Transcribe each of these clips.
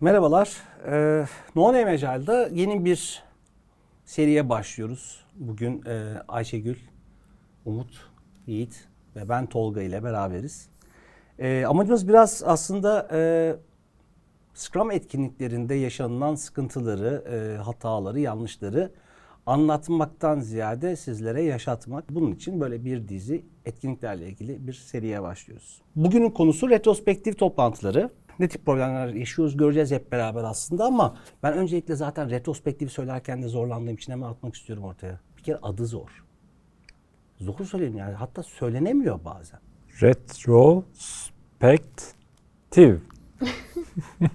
Merhabalar. Ee, No Name Agile'da yeni bir seriye başlıyoruz. Bugün e, Ayşegül, Umut, Yiğit ve ben Tolga ile beraberiz. Ee, amacımız biraz aslında e, Scrum etkinliklerinde yaşanılan sıkıntıları, e, hataları, yanlışları anlatmaktan ziyade sizlere yaşatmak. Bunun için böyle bir dizi etkinliklerle ilgili bir seriye başlıyoruz. Bugünün konusu retrospektif toplantıları. Ne tip problemler yaşıyoruz göreceğiz hep beraber aslında ama ben öncelikle zaten retrospektifi söylerken de zorlandığım için hemen atmak istiyorum ortaya. Bir kere adı zor. Zor söyleniyor yani hatta söylenemiyor bazen. Retrospektif.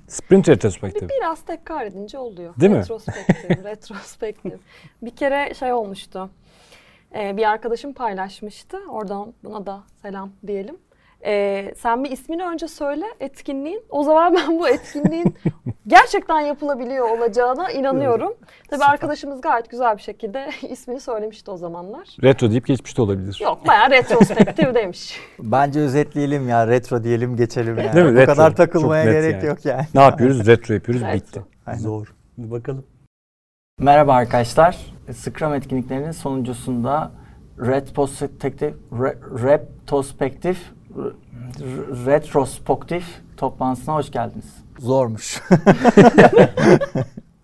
Sprint retrospektif. Biraz tekrar edince oluyor. Değil mi? retrospektif, retrospektif. Bir kere şey olmuştu. Ee, bir arkadaşım paylaşmıştı. Oradan buna da selam diyelim. Ee, sen bir ismini önce söyle etkinliğin. O zaman ben bu etkinliğin gerçekten yapılabiliyor olacağına inanıyorum. Tabii arkadaşımız gayet güzel bir şekilde ismini söylemişti o zamanlar. Retro deyip geçmiş de olabilir. Yok bayağı retrospektif demiş. Bence özetleyelim ya retro diyelim geçelim yani. Değil mi? Bu Retro. kadar takılmaya Çok net gerek yani. yok yani. Ne yapıyoruz? Retro yapıyoruz. Retro. Bitti. Aynen. Zor. Bir bakalım. Merhaba arkadaşlar. Scrum etkinliklerinin sonuncusunda retrospektif, re, retrospektif, re- retrospektif toplantısına hoş geldiniz. Zormuş.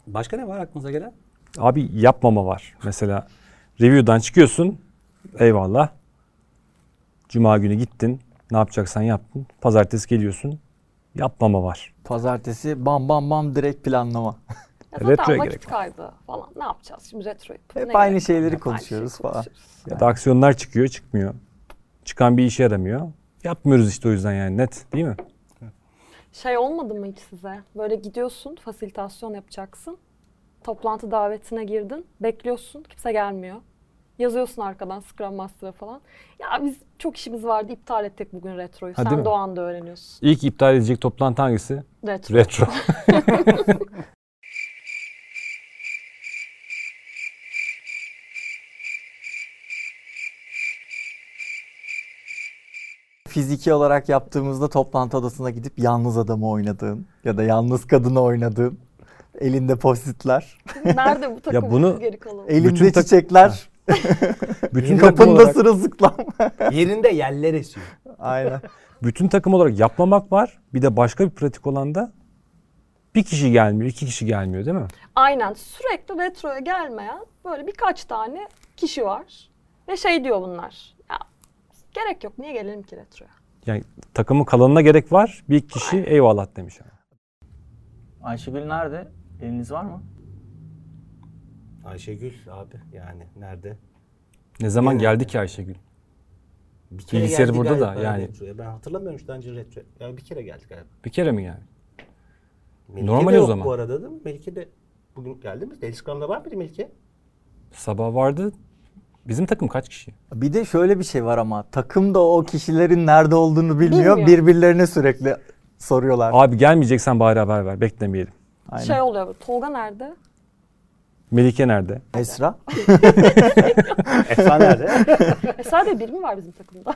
Başka ne var aklınıza gelen? Abi yapmama var. Mesela review'dan çıkıyorsun. Eyvallah. Cuma günü gittin. Ne yapacaksan yaptın. Pazartesi geliyorsun. Yapmama var. Pazartesi bam bam bam direkt planlama. Ya Retroya zaten gerek vakit yok. kaybı falan. Ne yapacağız şimdi retro yapıp? Hep ne aynı gerek var? şeyleri Hep aynı konuşuyoruz şeyi falan. konuşuyoruz. Ya da aksiyonlar çıkıyor, çıkmıyor. Çıkan bir işe yaramıyor. Yapmıyoruz işte o yüzden yani net değil mi? Şey olmadı mı hiç size? Böyle gidiyorsun, fasilitasyon yapacaksın. Toplantı davetine girdin, bekliyorsun, kimse gelmiyor. Yazıyorsun arkadan Scrum Master'a falan. Ya biz çok işimiz vardı, iptal ettik bugün retroyu. Ha, değil Sen mi? Doğan'da öğreniyorsun. İlk iptal edecek toplantı hangisi? Retro. Retro. Fiziki olarak yaptığımızda toplantı odasına gidip yalnız adamı oynadığın ya da yalnız kadını oynadığın elinde postitler, Nerede bu takımın bunu- geri kalanı? elinde Bütün tak- çiçekler, Bütün takım kapında olarak, sırılsıklam. Yerinde yeller esiyor. Aynen. bütün takım olarak yapmamak var. Bir de başka bir pratik olan da bir kişi gelmiyor, iki kişi gelmiyor değil mi? Aynen sürekli retroya gelmeyen böyle birkaç tane kişi var. Ve şey diyor bunlar. Ya gerek yok, niye gelelim ki retroya? Yani takımın kalanına gerek var. Bir kişi eyvallah demiş. ama. Ayşegül nerede? Eliniz var mı? Ayşegül abi yani nerede? Ne zaman Evet. geldi ki Ayşegül? Ee, Bir Bilgisayarı geldi burada da galiba yani. retroya. Ben hatırlamıyorum şu daha önce retro. Yani bir kere geldik galiba. Bir kere mi yani? Melike Normal de o yok zaman. bu arada değil mi? Melike de bugün geldi mi? Instagram'da var mıydı Melike? Sabah vardı. Bizim takım kaç kişi? Bir de şöyle bir şey var ama takım da o kişilerin nerede olduğunu bilmiyor. Bilmiyor. Birbirlerine sürekli soruyorlar. Abi gelmeyeceksen bari haber ver. Beklemeyelim. Aynen. Şey oluyor, Tolga nerede? Melike nerede? Esra. Efsane nerede? E sadece bir mi var bizim takımda?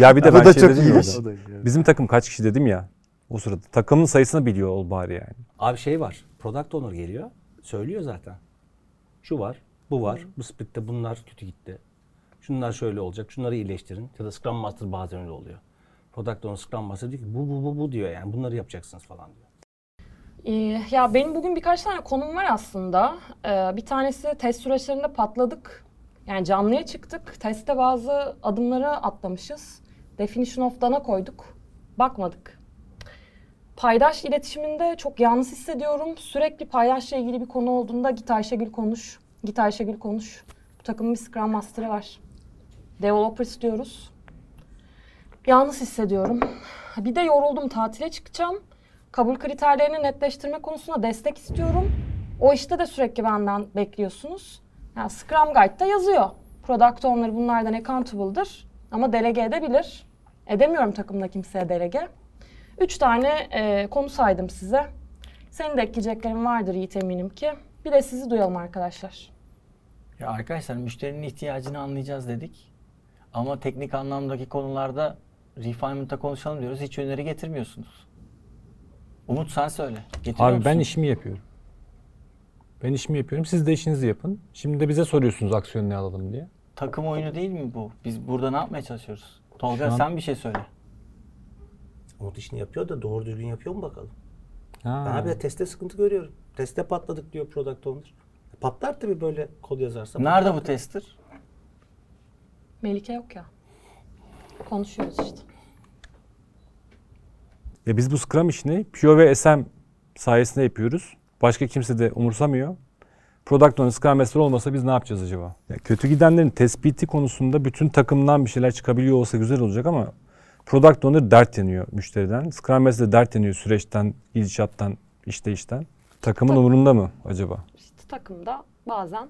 Ya bir de Bu ben da şey çok dedim ya iyiymiş. orada. Bizim takım kaç kişi dedim ya. O sırada takımın sayısını biliyor ol bari yani. Abi şey var. Product Owner geliyor. Söylüyor zaten. Şu var, bu var. Bu splitte bunlar kötü gitti. Şunlar şöyle olacak. Şunları iyileştirin. Ya da Scrum Master bazen öyle oluyor. Product Owner Scrum Master diyor ki bu bu bu bu diyor yani. Bunları yapacaksınız falan diyor. Ee, ya benim bugün birkaç tane konum var aslında. Ee, bir tanesi test süreçlerinde patladık. Yani canlıya çıktık. Testte bazı adımları atlamışız. Definition of done'a koyduk. Bakmadık. Paydaş iletişiminde çok yalnız hissediyorum. Sürekli paydaşla ilgili bir konu olduğunda git Ayşegül konuş. Git Ayşegül konuş. Bu takımın bir Scrum Master'ı var. Developers diyoruz. Yalnız hissediyorum. Bir de yoruldum. Tatile çıkacağım. Kabul kriterlerini netleştirme konusunda destek istiyorum. O işte de sürekli benden bekliyorsunuz. Yani Scrum Guide'da yazıyor. Product Owner bunlardan accountable'dır. Ama delege edebilir. Edemiyorum takımda kimseye delege. Üç tane e, konu saydım size. Senin de ekleyeceklerin vardır Yiğit eminim ki. Bir de sizi duyalım arkadaşlar. Ya arkadaşlar müşterinin ihtiyacını anlayacağız dedik. Ama teknik anlamdaki konularda refinement'ta konuşalım diyoruz. Hiç öneri getirmiyorsunuz. Umut sen söyle. Getiriyor Abi ben musun? işimi yapıyorum. Ben işimi yapıyorum. Siz de işinizi yapın. Şimdi de bize soruyorsunuz aksiyon ne alalım diye. Takım oyunu değil mi bu? Biz burada ne yapmaya çalışıyoruz? Tolga Şu an- sen bir şey söyle. Umut işini yapıyor da doğru düzgün yapıyor mu bakalım? Ha. Ben abi teste sıkıntı görüyorum. Teste patladık diyor product owner. E, Patlar tabii böyle kod yazarsa. Nerede bu tester? Melike yok ya. Konuşuyoruz işte. Ya E biz bu Scrum işini Pio ve SM sayesinde yapıyoruz. Başka kimse de umursamıyor. Product Owner Scrum Master olmasa biz ne yapacağız acaba? Ya kötü gidenlerin tespiti konusunda bütün takımdan bir şeyler çıkabiliyor olsa güzel olacak ama Product Owner dert yanıyor müşteriden. Scrum Master de dert yanıyor süreçten, gidişattan, işte işten. Takımın umurunda mı acaba? İşte takımda bazen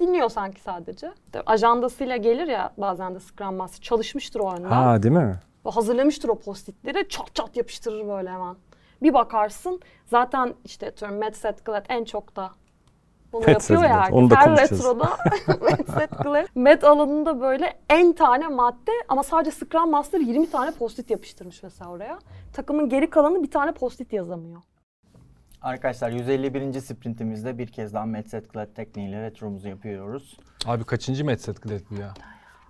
dinliyor sanki sadece. İşte ajandasıyla gelir ya bazen de Scrum Master çalışmıştır o önden. Ha değil mi? Ve hazırlamıştır o postitleri çat çat yapıştırır böyle hemen. Bir bakarsın zaten işte atıyorum Medset Glad en çok da bunu Medset yapıyor ya Glad, herkes. onu da Her konuşacağız. retroda Medset Glad. Med alanında böyle en tane madde ama sadece Scrum Master 20 tane postit yapıştırmış mesela oraya. Takımın geri kalanı bir tane postit yazamıyor. Arkadaşlar 151. sprintimizde bir kez daha Medset Glad tekniğiyle retromuzu yapıyoruz. Abi kaçıncı Medset Glad bu ya?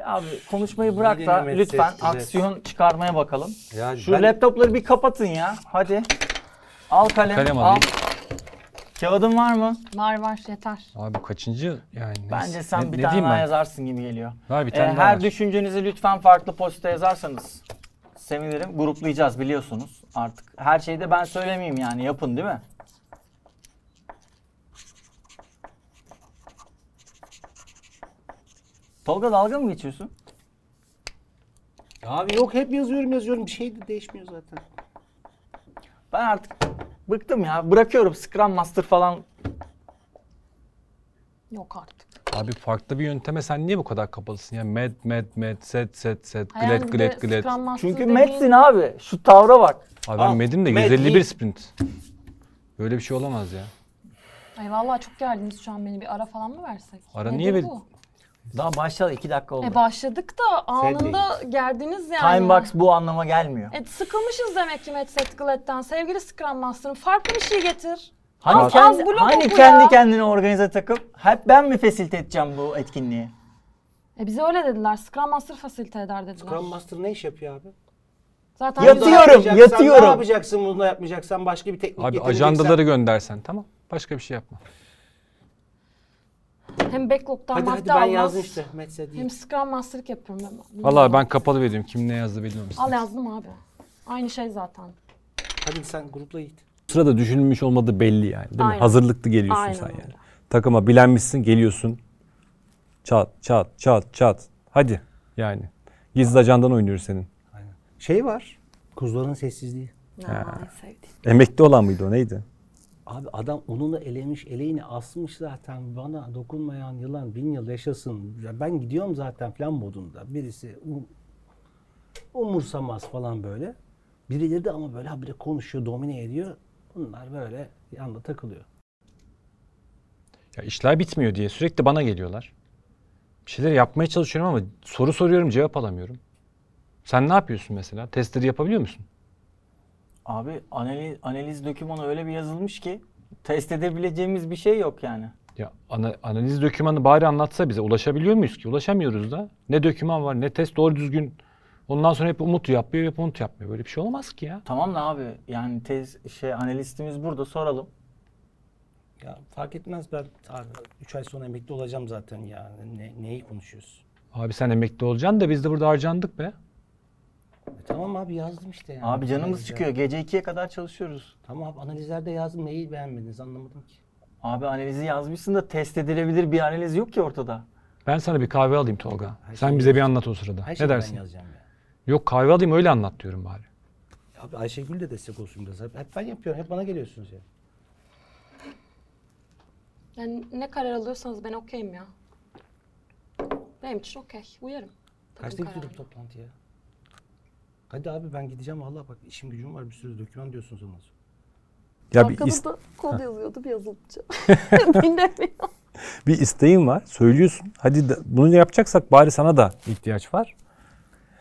Abi konuşmayı bırak da Yeni Medset lütfen Glad. aksiyon çıkarmaya bakalım. Ya Şu ben- laptopları bir kapatın ya. Hadi. Al kalem, Kalem al. alayım. Kağıdın var mı? Var var yeter. Abi kaçıncı yani? neyse. Bence sen Ne- bir ne tane diyeyim daha ben? yazarsın gibi geliyor. Var bir Ee, tane daha her var. düşüncenizi lütfen farklı posta yazarsanız sevinirim. Gruplayacağız biliyorsunuz artık. Her şeyi de ben söylemeyeyim yani yapın değil mi? Tolga dalga mı geçiyorsun? Abi yok hep yazıyorum yazıyorum. Bir şey de değişmiyor zaten. Ben artık bıktım ya. Bırakıyorum Scrum Master falan. Yok artık. Abi farklı bir yönteme sen niye bu kadar kapalısın ya? Med, med, med, set, set, set, glad, Hayalinde glad, glad. Scrum Master Çünkü dediğin- Metsin abi. Şu tavra bak. Abi ben Ah, medim de med, 151 med. sprint. Böyle bir şey olamaz ya. Ay vallahi çok geldiniz şu an beni bir ara falan mı versek? Ara Nedir niye ver- bu? Daha başladı 2 dakika oldu. E başladık da anında gerdiniz yani. Timebox bu anlama gelmiyor. E sıkılmışız demek ki Medset Glad'den. Sevgili Scrum Master'ım farklı bir şey getir. Hani, Az- kendi, az blok hani oku kendi ya. kendine organize takıp hep ben mi fesilt edeceğim bu etkinliği? E bize öyle dediler. Scrum Master fasilite eder dediler. Scrum Master ne iş yapıyor abi? Zaten Yatıyor. Bunu da Yatıyorum, yapmayacaksan yatıyorum. Ne yapacaksın bunu da yapmayacaksan başka bir teknik Abi getireceksen- ajandaları göndersen tamam. Başka bir şey yapma. hem backlog'dan Hadi madde hadi ben almaz. yazdım işte. Metse diye. Hem Scrum Master'lık yapıyorum ben. Vallahi ben kapalı veriyorum. Kim ne yazdı bilmiyorum. Al yazdım abi. Aynı şey zaten. Hadi sen grupla git. Sırada düşünülmüş olmadığı belli yani. Değil mi? Aynen. Hazırlıklı geliyorsun Aynen sen öyle. yani. Takıma bilenmişsin geliyorsun. Çat çat çat çat. Hadi yani. Gizli ajandan oynuyoruz senin. Şey var. Kuzuların sessizliği. Ay sevdiğim. Emekli olan mıydı o neydi? Abi adam onunu elemiş, eleğini asmış zaten bana dokunmayan yılan bin yıl yaşasın. Ya ben gidiyorum zaten falan modunda. Birisi um- umursamaz falan böyle. Birileri de ama böyle habire konuşuyor, domine ediyor. Bunlar böyle yanda takılıyor. Ya işler bitmiyor diye sürekli bana geliyorlar. Bir şeyler yapmaya çalışıyorum ama soru soruyorum cevap alamıyorum. Sen ne yapıyorsun mesela? Testleri yapabiliyor musun? Abi analiz, analiz dokümanı öyle bir yazılmış ki test edebileceğimiz bir şey yok yani. Ya ana- analiz dokümanı bari anlatsa bize. Ulaşabiliyor muyuz ki? Ulaşamıyoruz da. Ne doküman var ne test doğru düzgün. Ondan sonra hep umut yapıyor hep umut yapmıyor. Böyle bir şey olamaz ki ya. Tamam da abi yani tez şey analistimiz burada soralım. Ya fark etmez ben abi 3 ay sonra emekli olacağım zaten ya. Ne, neyi konuşuyoruz? Abi sen emekli olacaksın da biz de burada harcandık be. E tamam abi yazdım işte yani. Abi canımız Analizler. çıkıyor. Gece 2'ye kadar çalışıyoruz. Tamam abi analizlerde yazdım neyi beğenmediniz anlamadım ki. Abi analizi yazmışsın da test edilebilir bir analiz yok ki ortada. Ben sana bir kahve alayım Tolga. sen bize bir anlat o sırada. şey Her şeyi Ne ben dersin? yazacağım ya. Yok kahve alayım öyle anlat diyorum bari. Abi Ayşegül de destek olsun biraz. Hep, hep ben yapıyorum. Hep bana geliyorsunuz ya. Yani ne karar alıyorsanız ben okeyim ya. Benim için okey. Uyarım. Takım Kaçta kararı. gidiyorduk toplantıya? Hadi abi ben gideceğim valla bak işim gücüm var bir sürü döküman diyorsunuz ondan sonra. Ya bir, Arkada is- da kod yazıyordu bir yazılıcı. Bilemiyorum. bir isteğin var. Söylüyorsun. Hadi de- bunu yapacaksak bari sana da ihtiyaç var.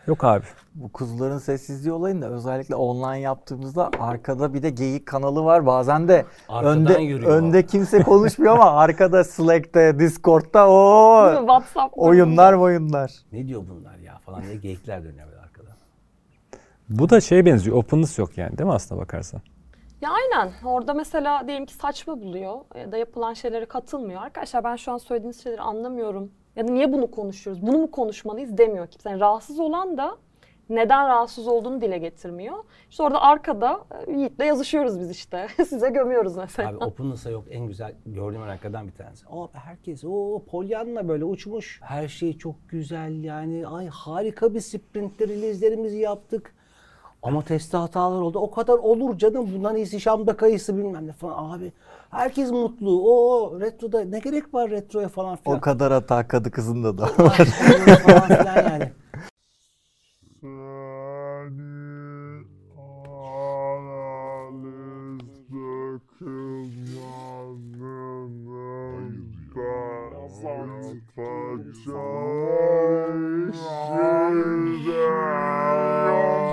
Yok abi. Bu kuzuların sessizliği olayında özellikle online yaptığımızda arkada bir de geyik kanalı var. Bazen de Arkadan önde yürüyor. önde kimse konuşmuyor ama arkada Slack'te, Discord'ta o WhatsApp oyunlar oyunlar. Ne diyor bunlar ya falan diye geyikler dönüyor böyle arkada. Bu da şeye benziyor. Openness yok yani değil mi aslına bakarsan? Ya aynen. Orada mesela diyelim ki saçma buluyor ya da yapılan şeylere katılmıyor. Arkadaşlar ben şu an söylediğiniz şeyleri anlamıyorum. Ya da niye bunu konuşuyoruz? Bunu mu konuşmalıyız demiyor kimse. Yani rahatsız olan da neden rahatsız olduğunu dile getirmiyor. İşte orada arkada e, Yiğit'le yazışıyoruz biz işte. Size gömüyoruz mesela. Abi Openness'a yok en güzel gördüğüm örneklerden bir tanesi. Abi herkes o Pollyanna böyle uçmuş. Her şey çok güzel yani. Ay harika bir sprintler release'lerimizi yaptık. Ama testte hatalar oldu. O kadar olur canım. Bundan iyisi Şam'da kayısı bilmem ne falan abi. Herkes mutlu. O retroda ne gerek var retroya falan filan. O kadar hata kadı kızında da. falan filan yani. Seni aranız dökülmezim ben Paçayı şimdi yanıyorum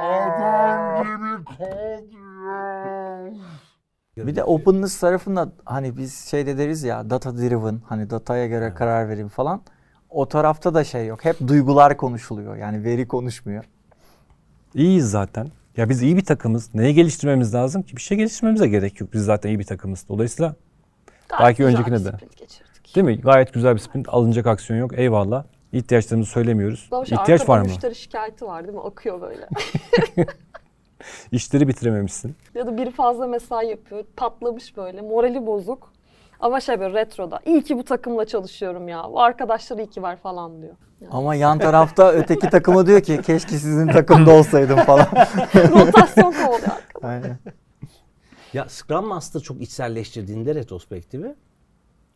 adam gibi kalıyor Bir de openness tarafında hani biz şey de deriz ya data driven hani dataya göre karar verin falan. O tarafta da şey yok. Hep duygular konuşuluyor. Yani veri konuşmuyor. İyiyiz zaten. Ya biz iyi bir takımız. Neyi geliştirmemiz lazım ki? Bir şey geliştirmemize gerek yok. Biz zaten iyi bir takımız. Dolayısıyla Gayet belki güzel bir öncekine de. sprint geçirdik. değil mi? Gayet güzel bir sprint. Alınacak aksiyon yok. Eyvallah. İhtiyaçlarımızı söylemiyoruz. Doğuş İhtiyaç arkada var mı? müşteri şikayeti var değil mi? Akıyor böyle. İşleri bitirememişsin. ya da biri fazla mesai yapıyor. Patlamış böyle. Morali bozuk. Ama şey böyle retroda. İyi ki bu takımla çalışıyorum ya. Bu arkadaşlar iyi ki var falan diyor. Ama yan tarafta öteki takıma diyor ki keşke sizin takımda olsaydım falan. Rotasyon kovalıyor. Aynen. Ya Scrum Master çok içselleştirdiğinde retrospektifi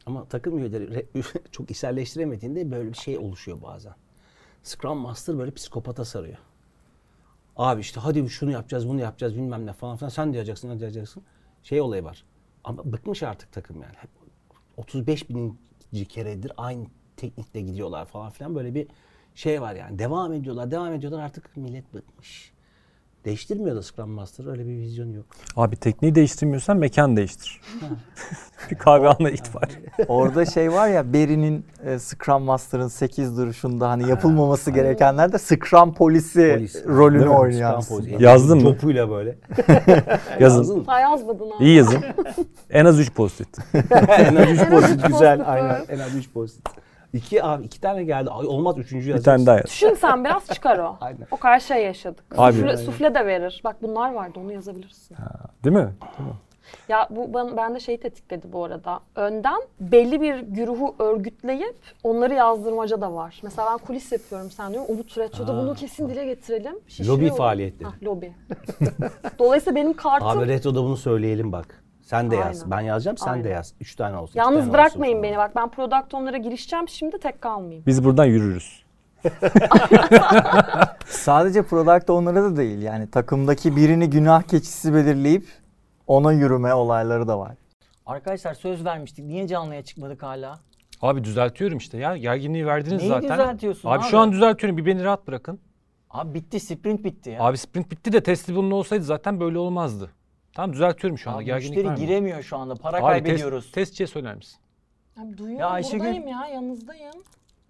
ama takım üyeleri re- çok içselleştiremediğinde böyle bir şey oluşuyor bazen. Scrum Master böyle psikopata sarıyor. Abi işte hadi şunu yapacağız, bunu yapacağız bilmem ne falan filan. Sen diyeceksin, ne diyeceksin. Şey olayı var. Ama bıkmış artık takım yani. Hep 35 bininci keredir aynı teknikle gidiyorlar falan filan. Böyle bir şey var yani. Devam ediyorlar, devam ediyorlar artık millet bıkmış. Değiştirmiyor da Scrum Master. Öyle bir vizyonu yok. Abi tekniği değiştirmiyorsan mekan değiştir. bir kahve alma itibar. Orada şey var ya Beri'nin e, Scrum Master'ın 8 duruşunda hani yapılmaması gerekenler de Scrum polisi Ee, Polis. rolünü Değil mi? oynuyor Scrum aslında. polisi. Yazdın mı? Topuyla böyle. Yazın. Sen yazmadın ha. İyi yazın. En az 3 pozitif. en az 3 üç pozitif güzel. pozitif, Aynen. evet. En az 3 pozitif. İki abi iki tane geldi. Ay olmaz üçüncü Bir yazacağız. tane daha yaz. Düşün sen biraz çıkar o. Aynen. O kadar şey yaşadık. Abi. sufle, sufle de verir. Bak bunlar vardı onu yazabilirsin. Değil mi? Ya bu ben, ben de şeyi tetikledi bu arada. Önden belli bir güruhu örgütleyip onları yazdırmaca da var. Mesela ben kulis yapıyorum sen diyorum. Umut Retro'da bunu kesin dile getirelim. Şişiriyor. Lobi faaliyetleri. Hah, lobi. Dolayısıyla benim kartım Abi retroda bunu söyleyelim bak. Sen de yaz. Aynen. Ben yazacağım sen de Aynen. yaz. Üç tane olsun. iki tane yalnız olsun bırakmayın falan. beni bak ben product onlara girişeceğim şimdi tek kalmayayım. Biz buradan yürürüz. Sadece product onlara da değil yani takımdaki birini günah keçisi belirleyip ona yürüme olayları da var. Arkadaşlar söz vermiştik. Niye canlıya çıkmadık hala? Abi düzeltiyorum işte ya. Gerginliği verdiniz Neyi zaten. düzeltiyorsun abi, abi? şu an düzeltiyorum. Bir beni rahat bırakın. Abi bitti sprint bitti ya. Abi sprint bitti de testi bunun olsaydı zaten böyle olmazdı. Tamam düzeltiyorum şu anda. Abi Gerginlik müşteri vermeyin. giremiyor şu anda. Para Abi test- kaybediyoruz. testçiye söyler misin? Abi duyuyorum Ya Ayşegül- buradayım ya yanınızdayım.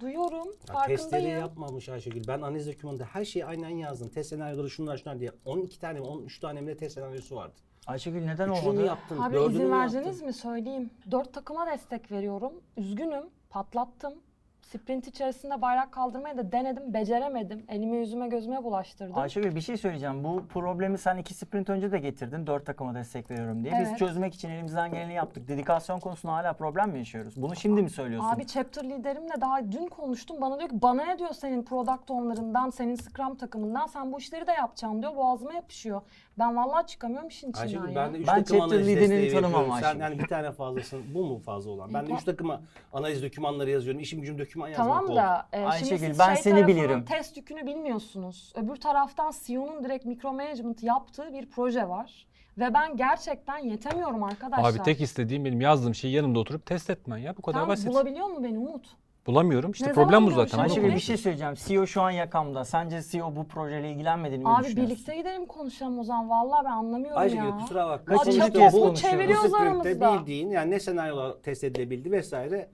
Duyuyorum Ya testleri farkındayım. yapmamış Ayşegül. Ben analiz dokümanında her şeyi aynen yazdım. Test senaryoları şunlar şunlar diye. 12 tane mi 13 tane mi ne test senaryosu vardı. Ayşegül neden Üçünü olmadı? yaptım. Abi dördünü izin mü vereceğiniz yaptım? mi söyleyeyim. Dört takıma destek veriyorum. Üzgünüm. Patlattım. Sprint içerisinde bayrak kaldırmayı da denedim. Beceremedim. Elimi yüzüme gözüme bulaştırdım. Ayşegül bir şey söyleyeceğim. Bu problemi sen iki sprint önce de getirdin. Dört takıma destek veriyorum diye. Evet. Biz çözmek için elimizden geleni yaptık. Dedikasyon konusunda hala problem mi yaşıyoruz? Bunu şimdi mi söylüyorsun? Abi chapter liderimle daha dün konuştum. Bana diyor ki bana ne diyor senin product owner'ından, senin scrum takımından. Sen bu işleri de yapacaksın diyor. Boğazıma yapışıyor. Ben vallahi çıkamıyorum işin içinden Ayşegül ya. ben de 3 Ben takım chapter analiz liderini desteği tanımam yapıyorum. Sen Ayşegül. yani bir tane fazlasın. Bu mu fazla olan? Ben de 3 takıma analiz dokümanları yazıyorum. İşim gücüm doküman yazmak Tamam oldu. da e, Ayşegül, şimdi siz ben şey seni tarafının bilirim. test yükünü bilmiyorsunuz. Öbür taraftan CEO'nun direkt micromanagement yaptığı bir proje var. Ve ben gerçekten yetemiyorum arkadaşlar. Abi tek istediğim benim yazdığım şeyi yanımda oturup şey test etmen ya. Bu kadar Tam basit. bulabiliyor mu beni Umut? Bulamıyorum. İşte Ne problem zaman bu zaten. görüşecek? Onu Ayşegül bir konuşuyoruz. şey söyleyeceğim. CEO şu an yakamda. Sence CEO bu projeyle ilgilenmediğini mi Abi düşünüyorsun? birlikte gidelim konuşalım o zaman. Vallahi ben anlamıyorum Ayşegül ya. kusura bakma. Aa, Kaçıncı Sonuçta bu- kez çapulcu konuşuyoruz? çeviriyoruz Bu scriptte aramızda. bildiğin yani ne senaryolar test edilebildi vesaire.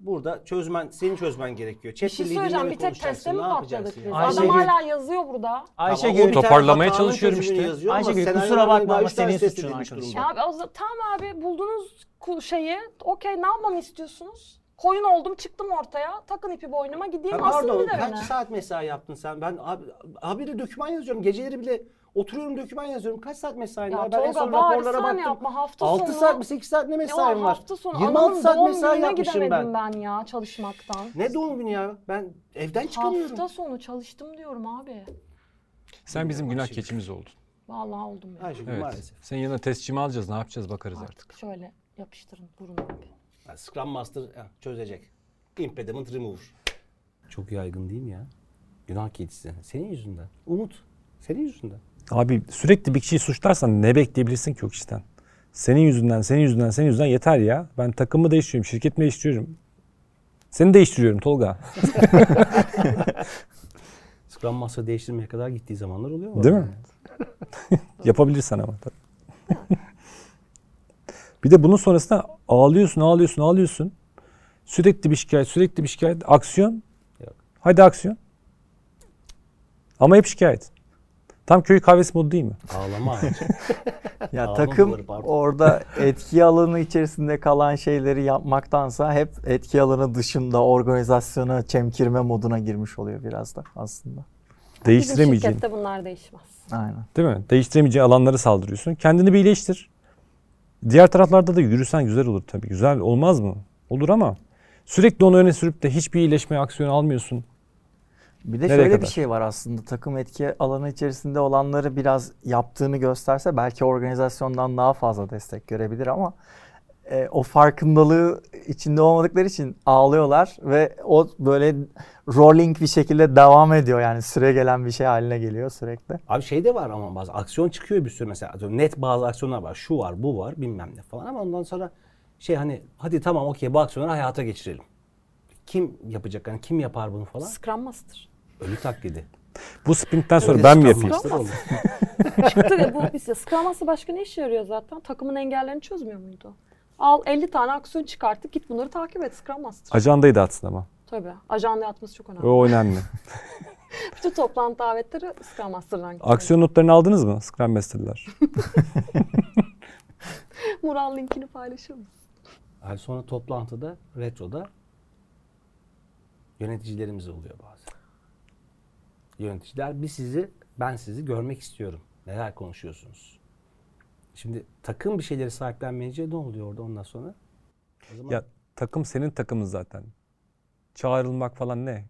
Burada çözmen, senin çözmen gerekiyor. Bir şey söyleyeceğim bir tek teste mi patladık biz? Ayşegül- Adam hala yazıyor burada. Ayşegül Tamam, o toparlamaya çalışıyorum işte. Ayşegül, kusura bakma ama senin suçun arkadaşım. Ya abi o za- tamam abi buldunuz ku- şeyi. Okey ne yapmamı istiyorsunuz? Koyun oldum çıktım ortaya. Takın ipi boynuma gideyim asın Pardon bir de kaç beni. saat mesai yaptın sen? Ben abi, habire döküman yazıyorum. Geceleri bile oturuyorum döküman yazıyorum. Kaç saat mesain Ya var? Ben en Tolga, son bari raporlara sen baktım. yapma, hafta 6 sonu- saat mi 8 saat ne Ya mesaim var? E, hafta sonu 26 anamın saat doğum mesai gününe yapmışım gidemedim ben. ben ya çalışmaktan. Ne doğum günü ya? Ben evden çıkamıyorum. Hafta sonu çalıştım diyorum abi. Sen bizim günah keçimiz oldun. Vallahi oldum ya. Ayşegül Evet. maalesef. Senin yanına testçimi alacağız. Ne yapacağız bakarız artık. Artık şöyle yapıştırın burun abi. Yani Scrum Master ha, çözecek. Impediment Remover. Çok yaygın değil mi ya? Günah kedisi. Senin yüzünden. Umut. Senin yüzünden. Abi sürekli bir kişiyi suçlarsan ne bekleyebilirsin ki o kişiden? Senin yüzünden, senin yüzünden, senin yüzünden yeter ya. Ben takımı değiştiriyorum, şirketimi değiştiriyorum. Seni değiştiriyorum Tolga. Scrum Master değiştirmeye kadar gittiği zamanlar oluyor mu? Değil mi? Yapabilirsen ama tabii. bir de bunun sonrasında ağlıyorsun, ağlıyorsun, ağlıyorsun. Sürekli bir şikayet, sürekli bir şikayet. Aksiyon. Yok. Haydi aksiyon. Ama hep şikayet. Tam köy kahvesi modu değil mi? Ağlama ağacı. Ya Ağlama takım bunları, pardon. orada etki alanı içerisinde kalan şeyleri yapmaktansa hep etki alanı dışında organizasyona çemkirme moduna girmiş oluyor biraz da aslında. Bizim Değiştiremeyeceğin. şirkette bunlar değişmez. Aynen. Değil mi? Değiştiremeyeceğin alanlara saldırıyorsun. Kendini bir iyileştir. Diğer taraflarda da yürüsen güzel olur tabii. Güzel olmaz mı? Olur ama sürekli onu öne sürüp de hiçbir iyileşme aksiyonu almıyorsun. Bir de Nereye şöyle kadar? bir şey var aslında takım etki alanı içerisinde olanları biraz yaptığını gösterse belki organizasyondan daha fazla destek görebilir ama e, o farkındalığı içinde olmadıkları için ağlıyorlar ve o böyle rolling bir şekilde devam ediyor yani süre gelen bir şey haline geliyor sürekli. Abi şey de var ama bazı aksiyon çıkıyor bir sürü mesela. Atıyorum Net bazı aksiyonlar var. Şu var, bu var bilmem ne falan ama ondan sonra şey hani hadi tamam okey bu aksiyonları hayata geçirelim. Kim yapacak hani kim yapar bunu falan? Scrum Master. Ölü taklidi. Bu sprintten sonra ben mi yapayım? Master olmuş. Çıktı ve bu biz Scrum Master başka ne işe yarıyor zaten? Takımın engellerini çözmüyor muydu? Al 50 tane aksiyon çıkarttık git bunları takip et Scrum Master. Ajandayı dağıtsın ama. Tabii. Ajanda atması çok önemli. O önemli. Bütün toplantı davetleri Scrum Master'dan geliyor. Aksiyon notlarını aldınız mı? Scrum Master'lar. Mural linkini paylaşır mısın? Yani sonra toplantıda, retroda yöneticilerimiz oluyor bazen. Yöneticiler bir sizi, ben sizi görmek istiyorum. Neler konuşuyorsunuz? Şimdi takım bir şeyleri sahiplenmeyince ne oluyor orada ondan sonra? O zaman ya takım senin takımın zaten. Çağrılmak falan ne?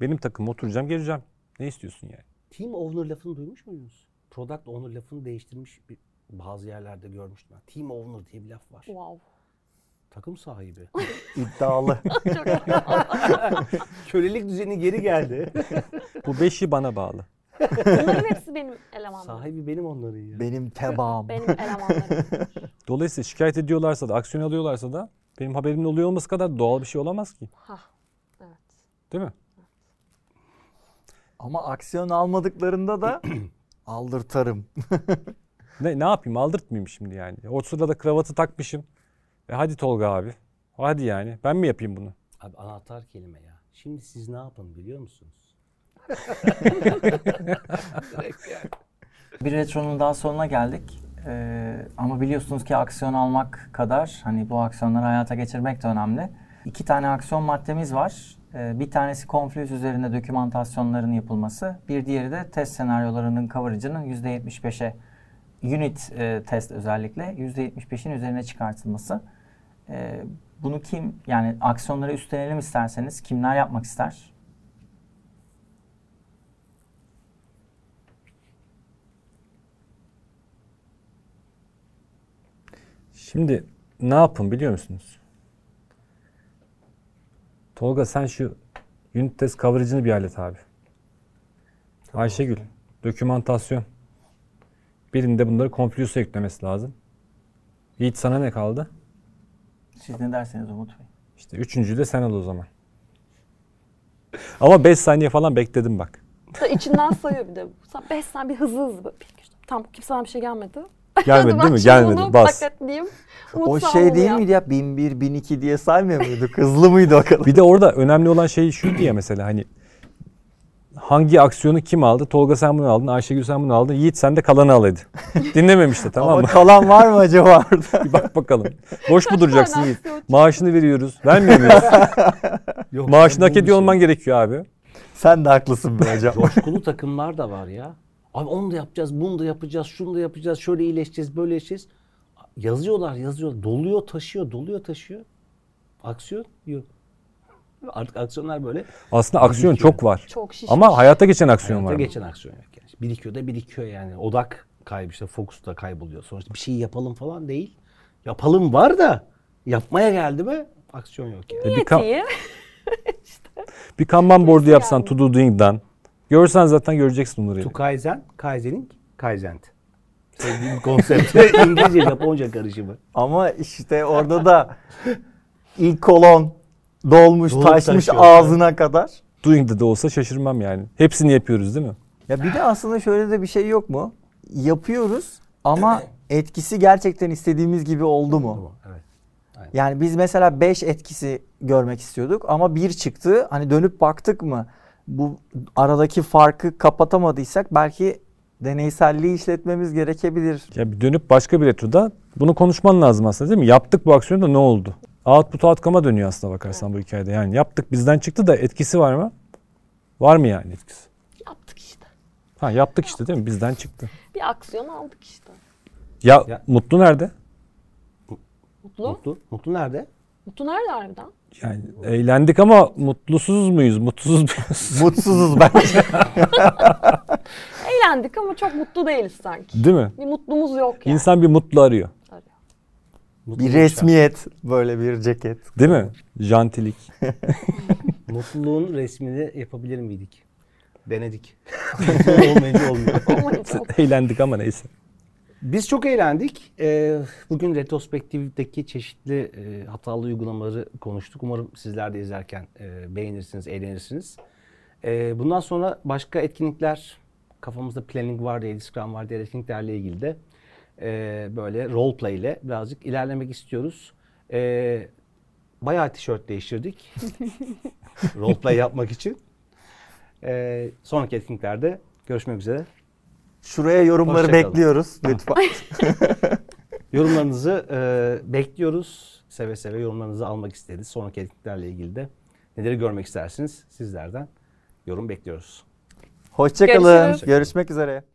Benim takım oturacağım geleceğim. Ne istiyorsun yani? team owner lafını duymuş muydunuz? Product owner lafını değiştirmiş bir, bazı yerlerde görmüştüm. ben. Team owner diye bir laf var. Wow. Takım sahibi. İddialı. Kölelik düzeni geri geldi. Bu beşi bana bağlı. Bunların hepsi benim elemanlarım. sahibi benim onların ya. Benim tebaam. Benim elemanlarım. Dolayısıyla şikayet ediyorlarsa da, aksiyon alıyorlarsa da benim haberimin oluyor olması kadar doğal bir şey olamaz ki. ha. Evet. Değil mi? Ama aksiyon almadıklarında da aldırtarım. Ne, ne yapayım aldırtmayayım şimdi yani. O sırada kravatı takmışım. E hadi Tolga abi. Hadi yani ben mi yapayım bunu? Abi anahtar kelime ya. Şimdi siz ne yapın biliyor musunuz? Bir retronun daha sonuna geldik. Ee, ama biliyorsunuz ki aksiyon almak kadar hani bu aksiyonları hayata geçirmek de önemli. İki tane aksiyon maddemiz var. Ee, bir tanesi Confluence üzerinde dokümantasyonların yapılması. Bir diğeri de test senaryolarının coverage'ının %75'e unit e, test özellikle %75'in üzerine çıkartılması. Ee, bunu kim yani aksiyonları üstlenelim isterseniz kimler yapmak ister? Şimdi ne yapın biliyor musunuz? Tolga sen şu unit test coverage'ını bir hallet abi. Ayşegül, dokümantasyon. Birinde bunları Confluence'a eklemesi lazım. Yiğit sana ne kaldı? Siz ne derseniz Umut Bey. İşte üçüncüyü de sen al o zaman. Ama 5 saniye falan bekledim bak. İçinden sayıyor bir de. 5 saniye bir hızlı hızlı. Böyle. Bir, iki, üç, dört. Tamam kimse bana bir şey gelmedi. Gelmedi değil mi? Gelmedi. Bas. Diyeyim. O şey değil miydi ya? 1001, 1002 diye saymıyor muyduk? Hızlı mıydı o kadar? Bir de orada önemli olan şey şu diye mesela hani hangi aksiyonu kim aldı? Tolga sen bunu aldın, Ayşegül sen bunu aldın, Yiğit sen de kalanı alaydı. Dinlememişti tamam mı? Ama kalan var mı acaba orada? Bir bak bakalım. Boş mu duracaksın Yiğit? Maaşını veriyoruz. Vermiyor muyuz? Maaşını hak ediyor olman gerekiyor abi. Sen de haklısın be hocam. Coşkulu takımlar da var ya. Abi onu da yapacağız, bunu da yapacağız, şunu da yapacağız, şöyle iyileşeceğiz, böyle iyileşeceğiz. Yazıyorlar, yazıyor. Doluyor, taşıyor, doluyor, taşıyor. Aksiyon yok. Artık aksiyonlar böyle Aslında aksiyon çok var. Çok şişmiş. Ama hayata geçen aksiyon hayata var. mı? geçen aksiyon yok. Yani. Birikiyor da birikiyor yani. Odak kaybı işte fokus da kayboluyor. Sonuçta bir şey yapalım falan değil. Yapalım var da yapmaya geldi mi aksiyon yok yani. Bir, ka- bir kanban boardu yapsan to do doing'dan. Görsen zaten göreceksin bunları. To Kaizen, Kaizen'in Kaizent. Sevdiğim konsept. İngilizce Japonca karışımı. Ama işte orada da ilk kolon dolmuş, Dolup taşmış taşıyor. ağzına kadar. Doing'de de olsa şaşırmam yani. Hepsini yapıyoruz değil mi? Ya bir de aslında şöyle de bir şey yok mu? Yapıyoruz ama etkisi gerçekten istediğimiz gibi oldu mu? Evet. Yani biz mesela 5 etkisi görmek istiyorduk ama bir çıktı. Hani dönüp baktık mı? Bu aradaki farkı kapatamadıysak belki deneyselliği işletmemiz gerekebilir. Ya bir dönüp başka bir retroda bunu konuşman lazım aslında değil mi? Yaptık bu aksiyonu da ne oldu? Output outcome'a dönüyor aslında bakarsan bu hikayede. Yani yaptık bizden çıktı da etkisi var mı? Var mı yani etkisi? Yaptık işte. Ha yaptık işte değil mi? Bizden çıktı. Bir aksiyon aldık işte. Ya, Ya- Mutlu nerede? Mutlu. Mutlu. Mutlu nerede? Mutlu nerede harbiden? Yani eğlendik ama mutlusuz muyuz? Mutsuz muyuz? Mutsuzuz bence. Eğlendik ama çok mutlu değiliz sanki. değil mi? Bir mutlumuz yok yani. İnsan bir mutlu arıyor. Mutlu bir resmiyet böyle bir ceket. Değil mi? Jantilik. Mutluluğun resmini yapabilir miydik? Denedik. Olmayınca olmuyor. eğlendik ama neyse. Biz çok eğlendik. Ee, bugün retrospektifteki çeşitli e, hatalı uygulamaları konuştuk. Umarım sizler de izlerken e, beğenirsiniz, eğlenirsiniz. Ee, bundan sonra başka etkinlikler, kafamızda planning var diye, Scrum var diye etkinliklerle ilgili de e, böyle role play ile birazcık ilerlemek istiyoruz. Ee, bayağı tişört değiştirdik. role play yapmak için. Ee, sonraki etkinliklerde görüşmek üzere. Şuraya yorumları Hoşçakalın. bekliyoruz lütfen. Yorumlarınızı e, bekliyoruz. Seve seve yorumlarınızı almak isteriz. Sonraki etkinliklerle ilgili de neleri görmek istersiniz sizlerden yorum bekliyoruz. Hoşçakalın. Görüşürüz. Görüşmek üzere.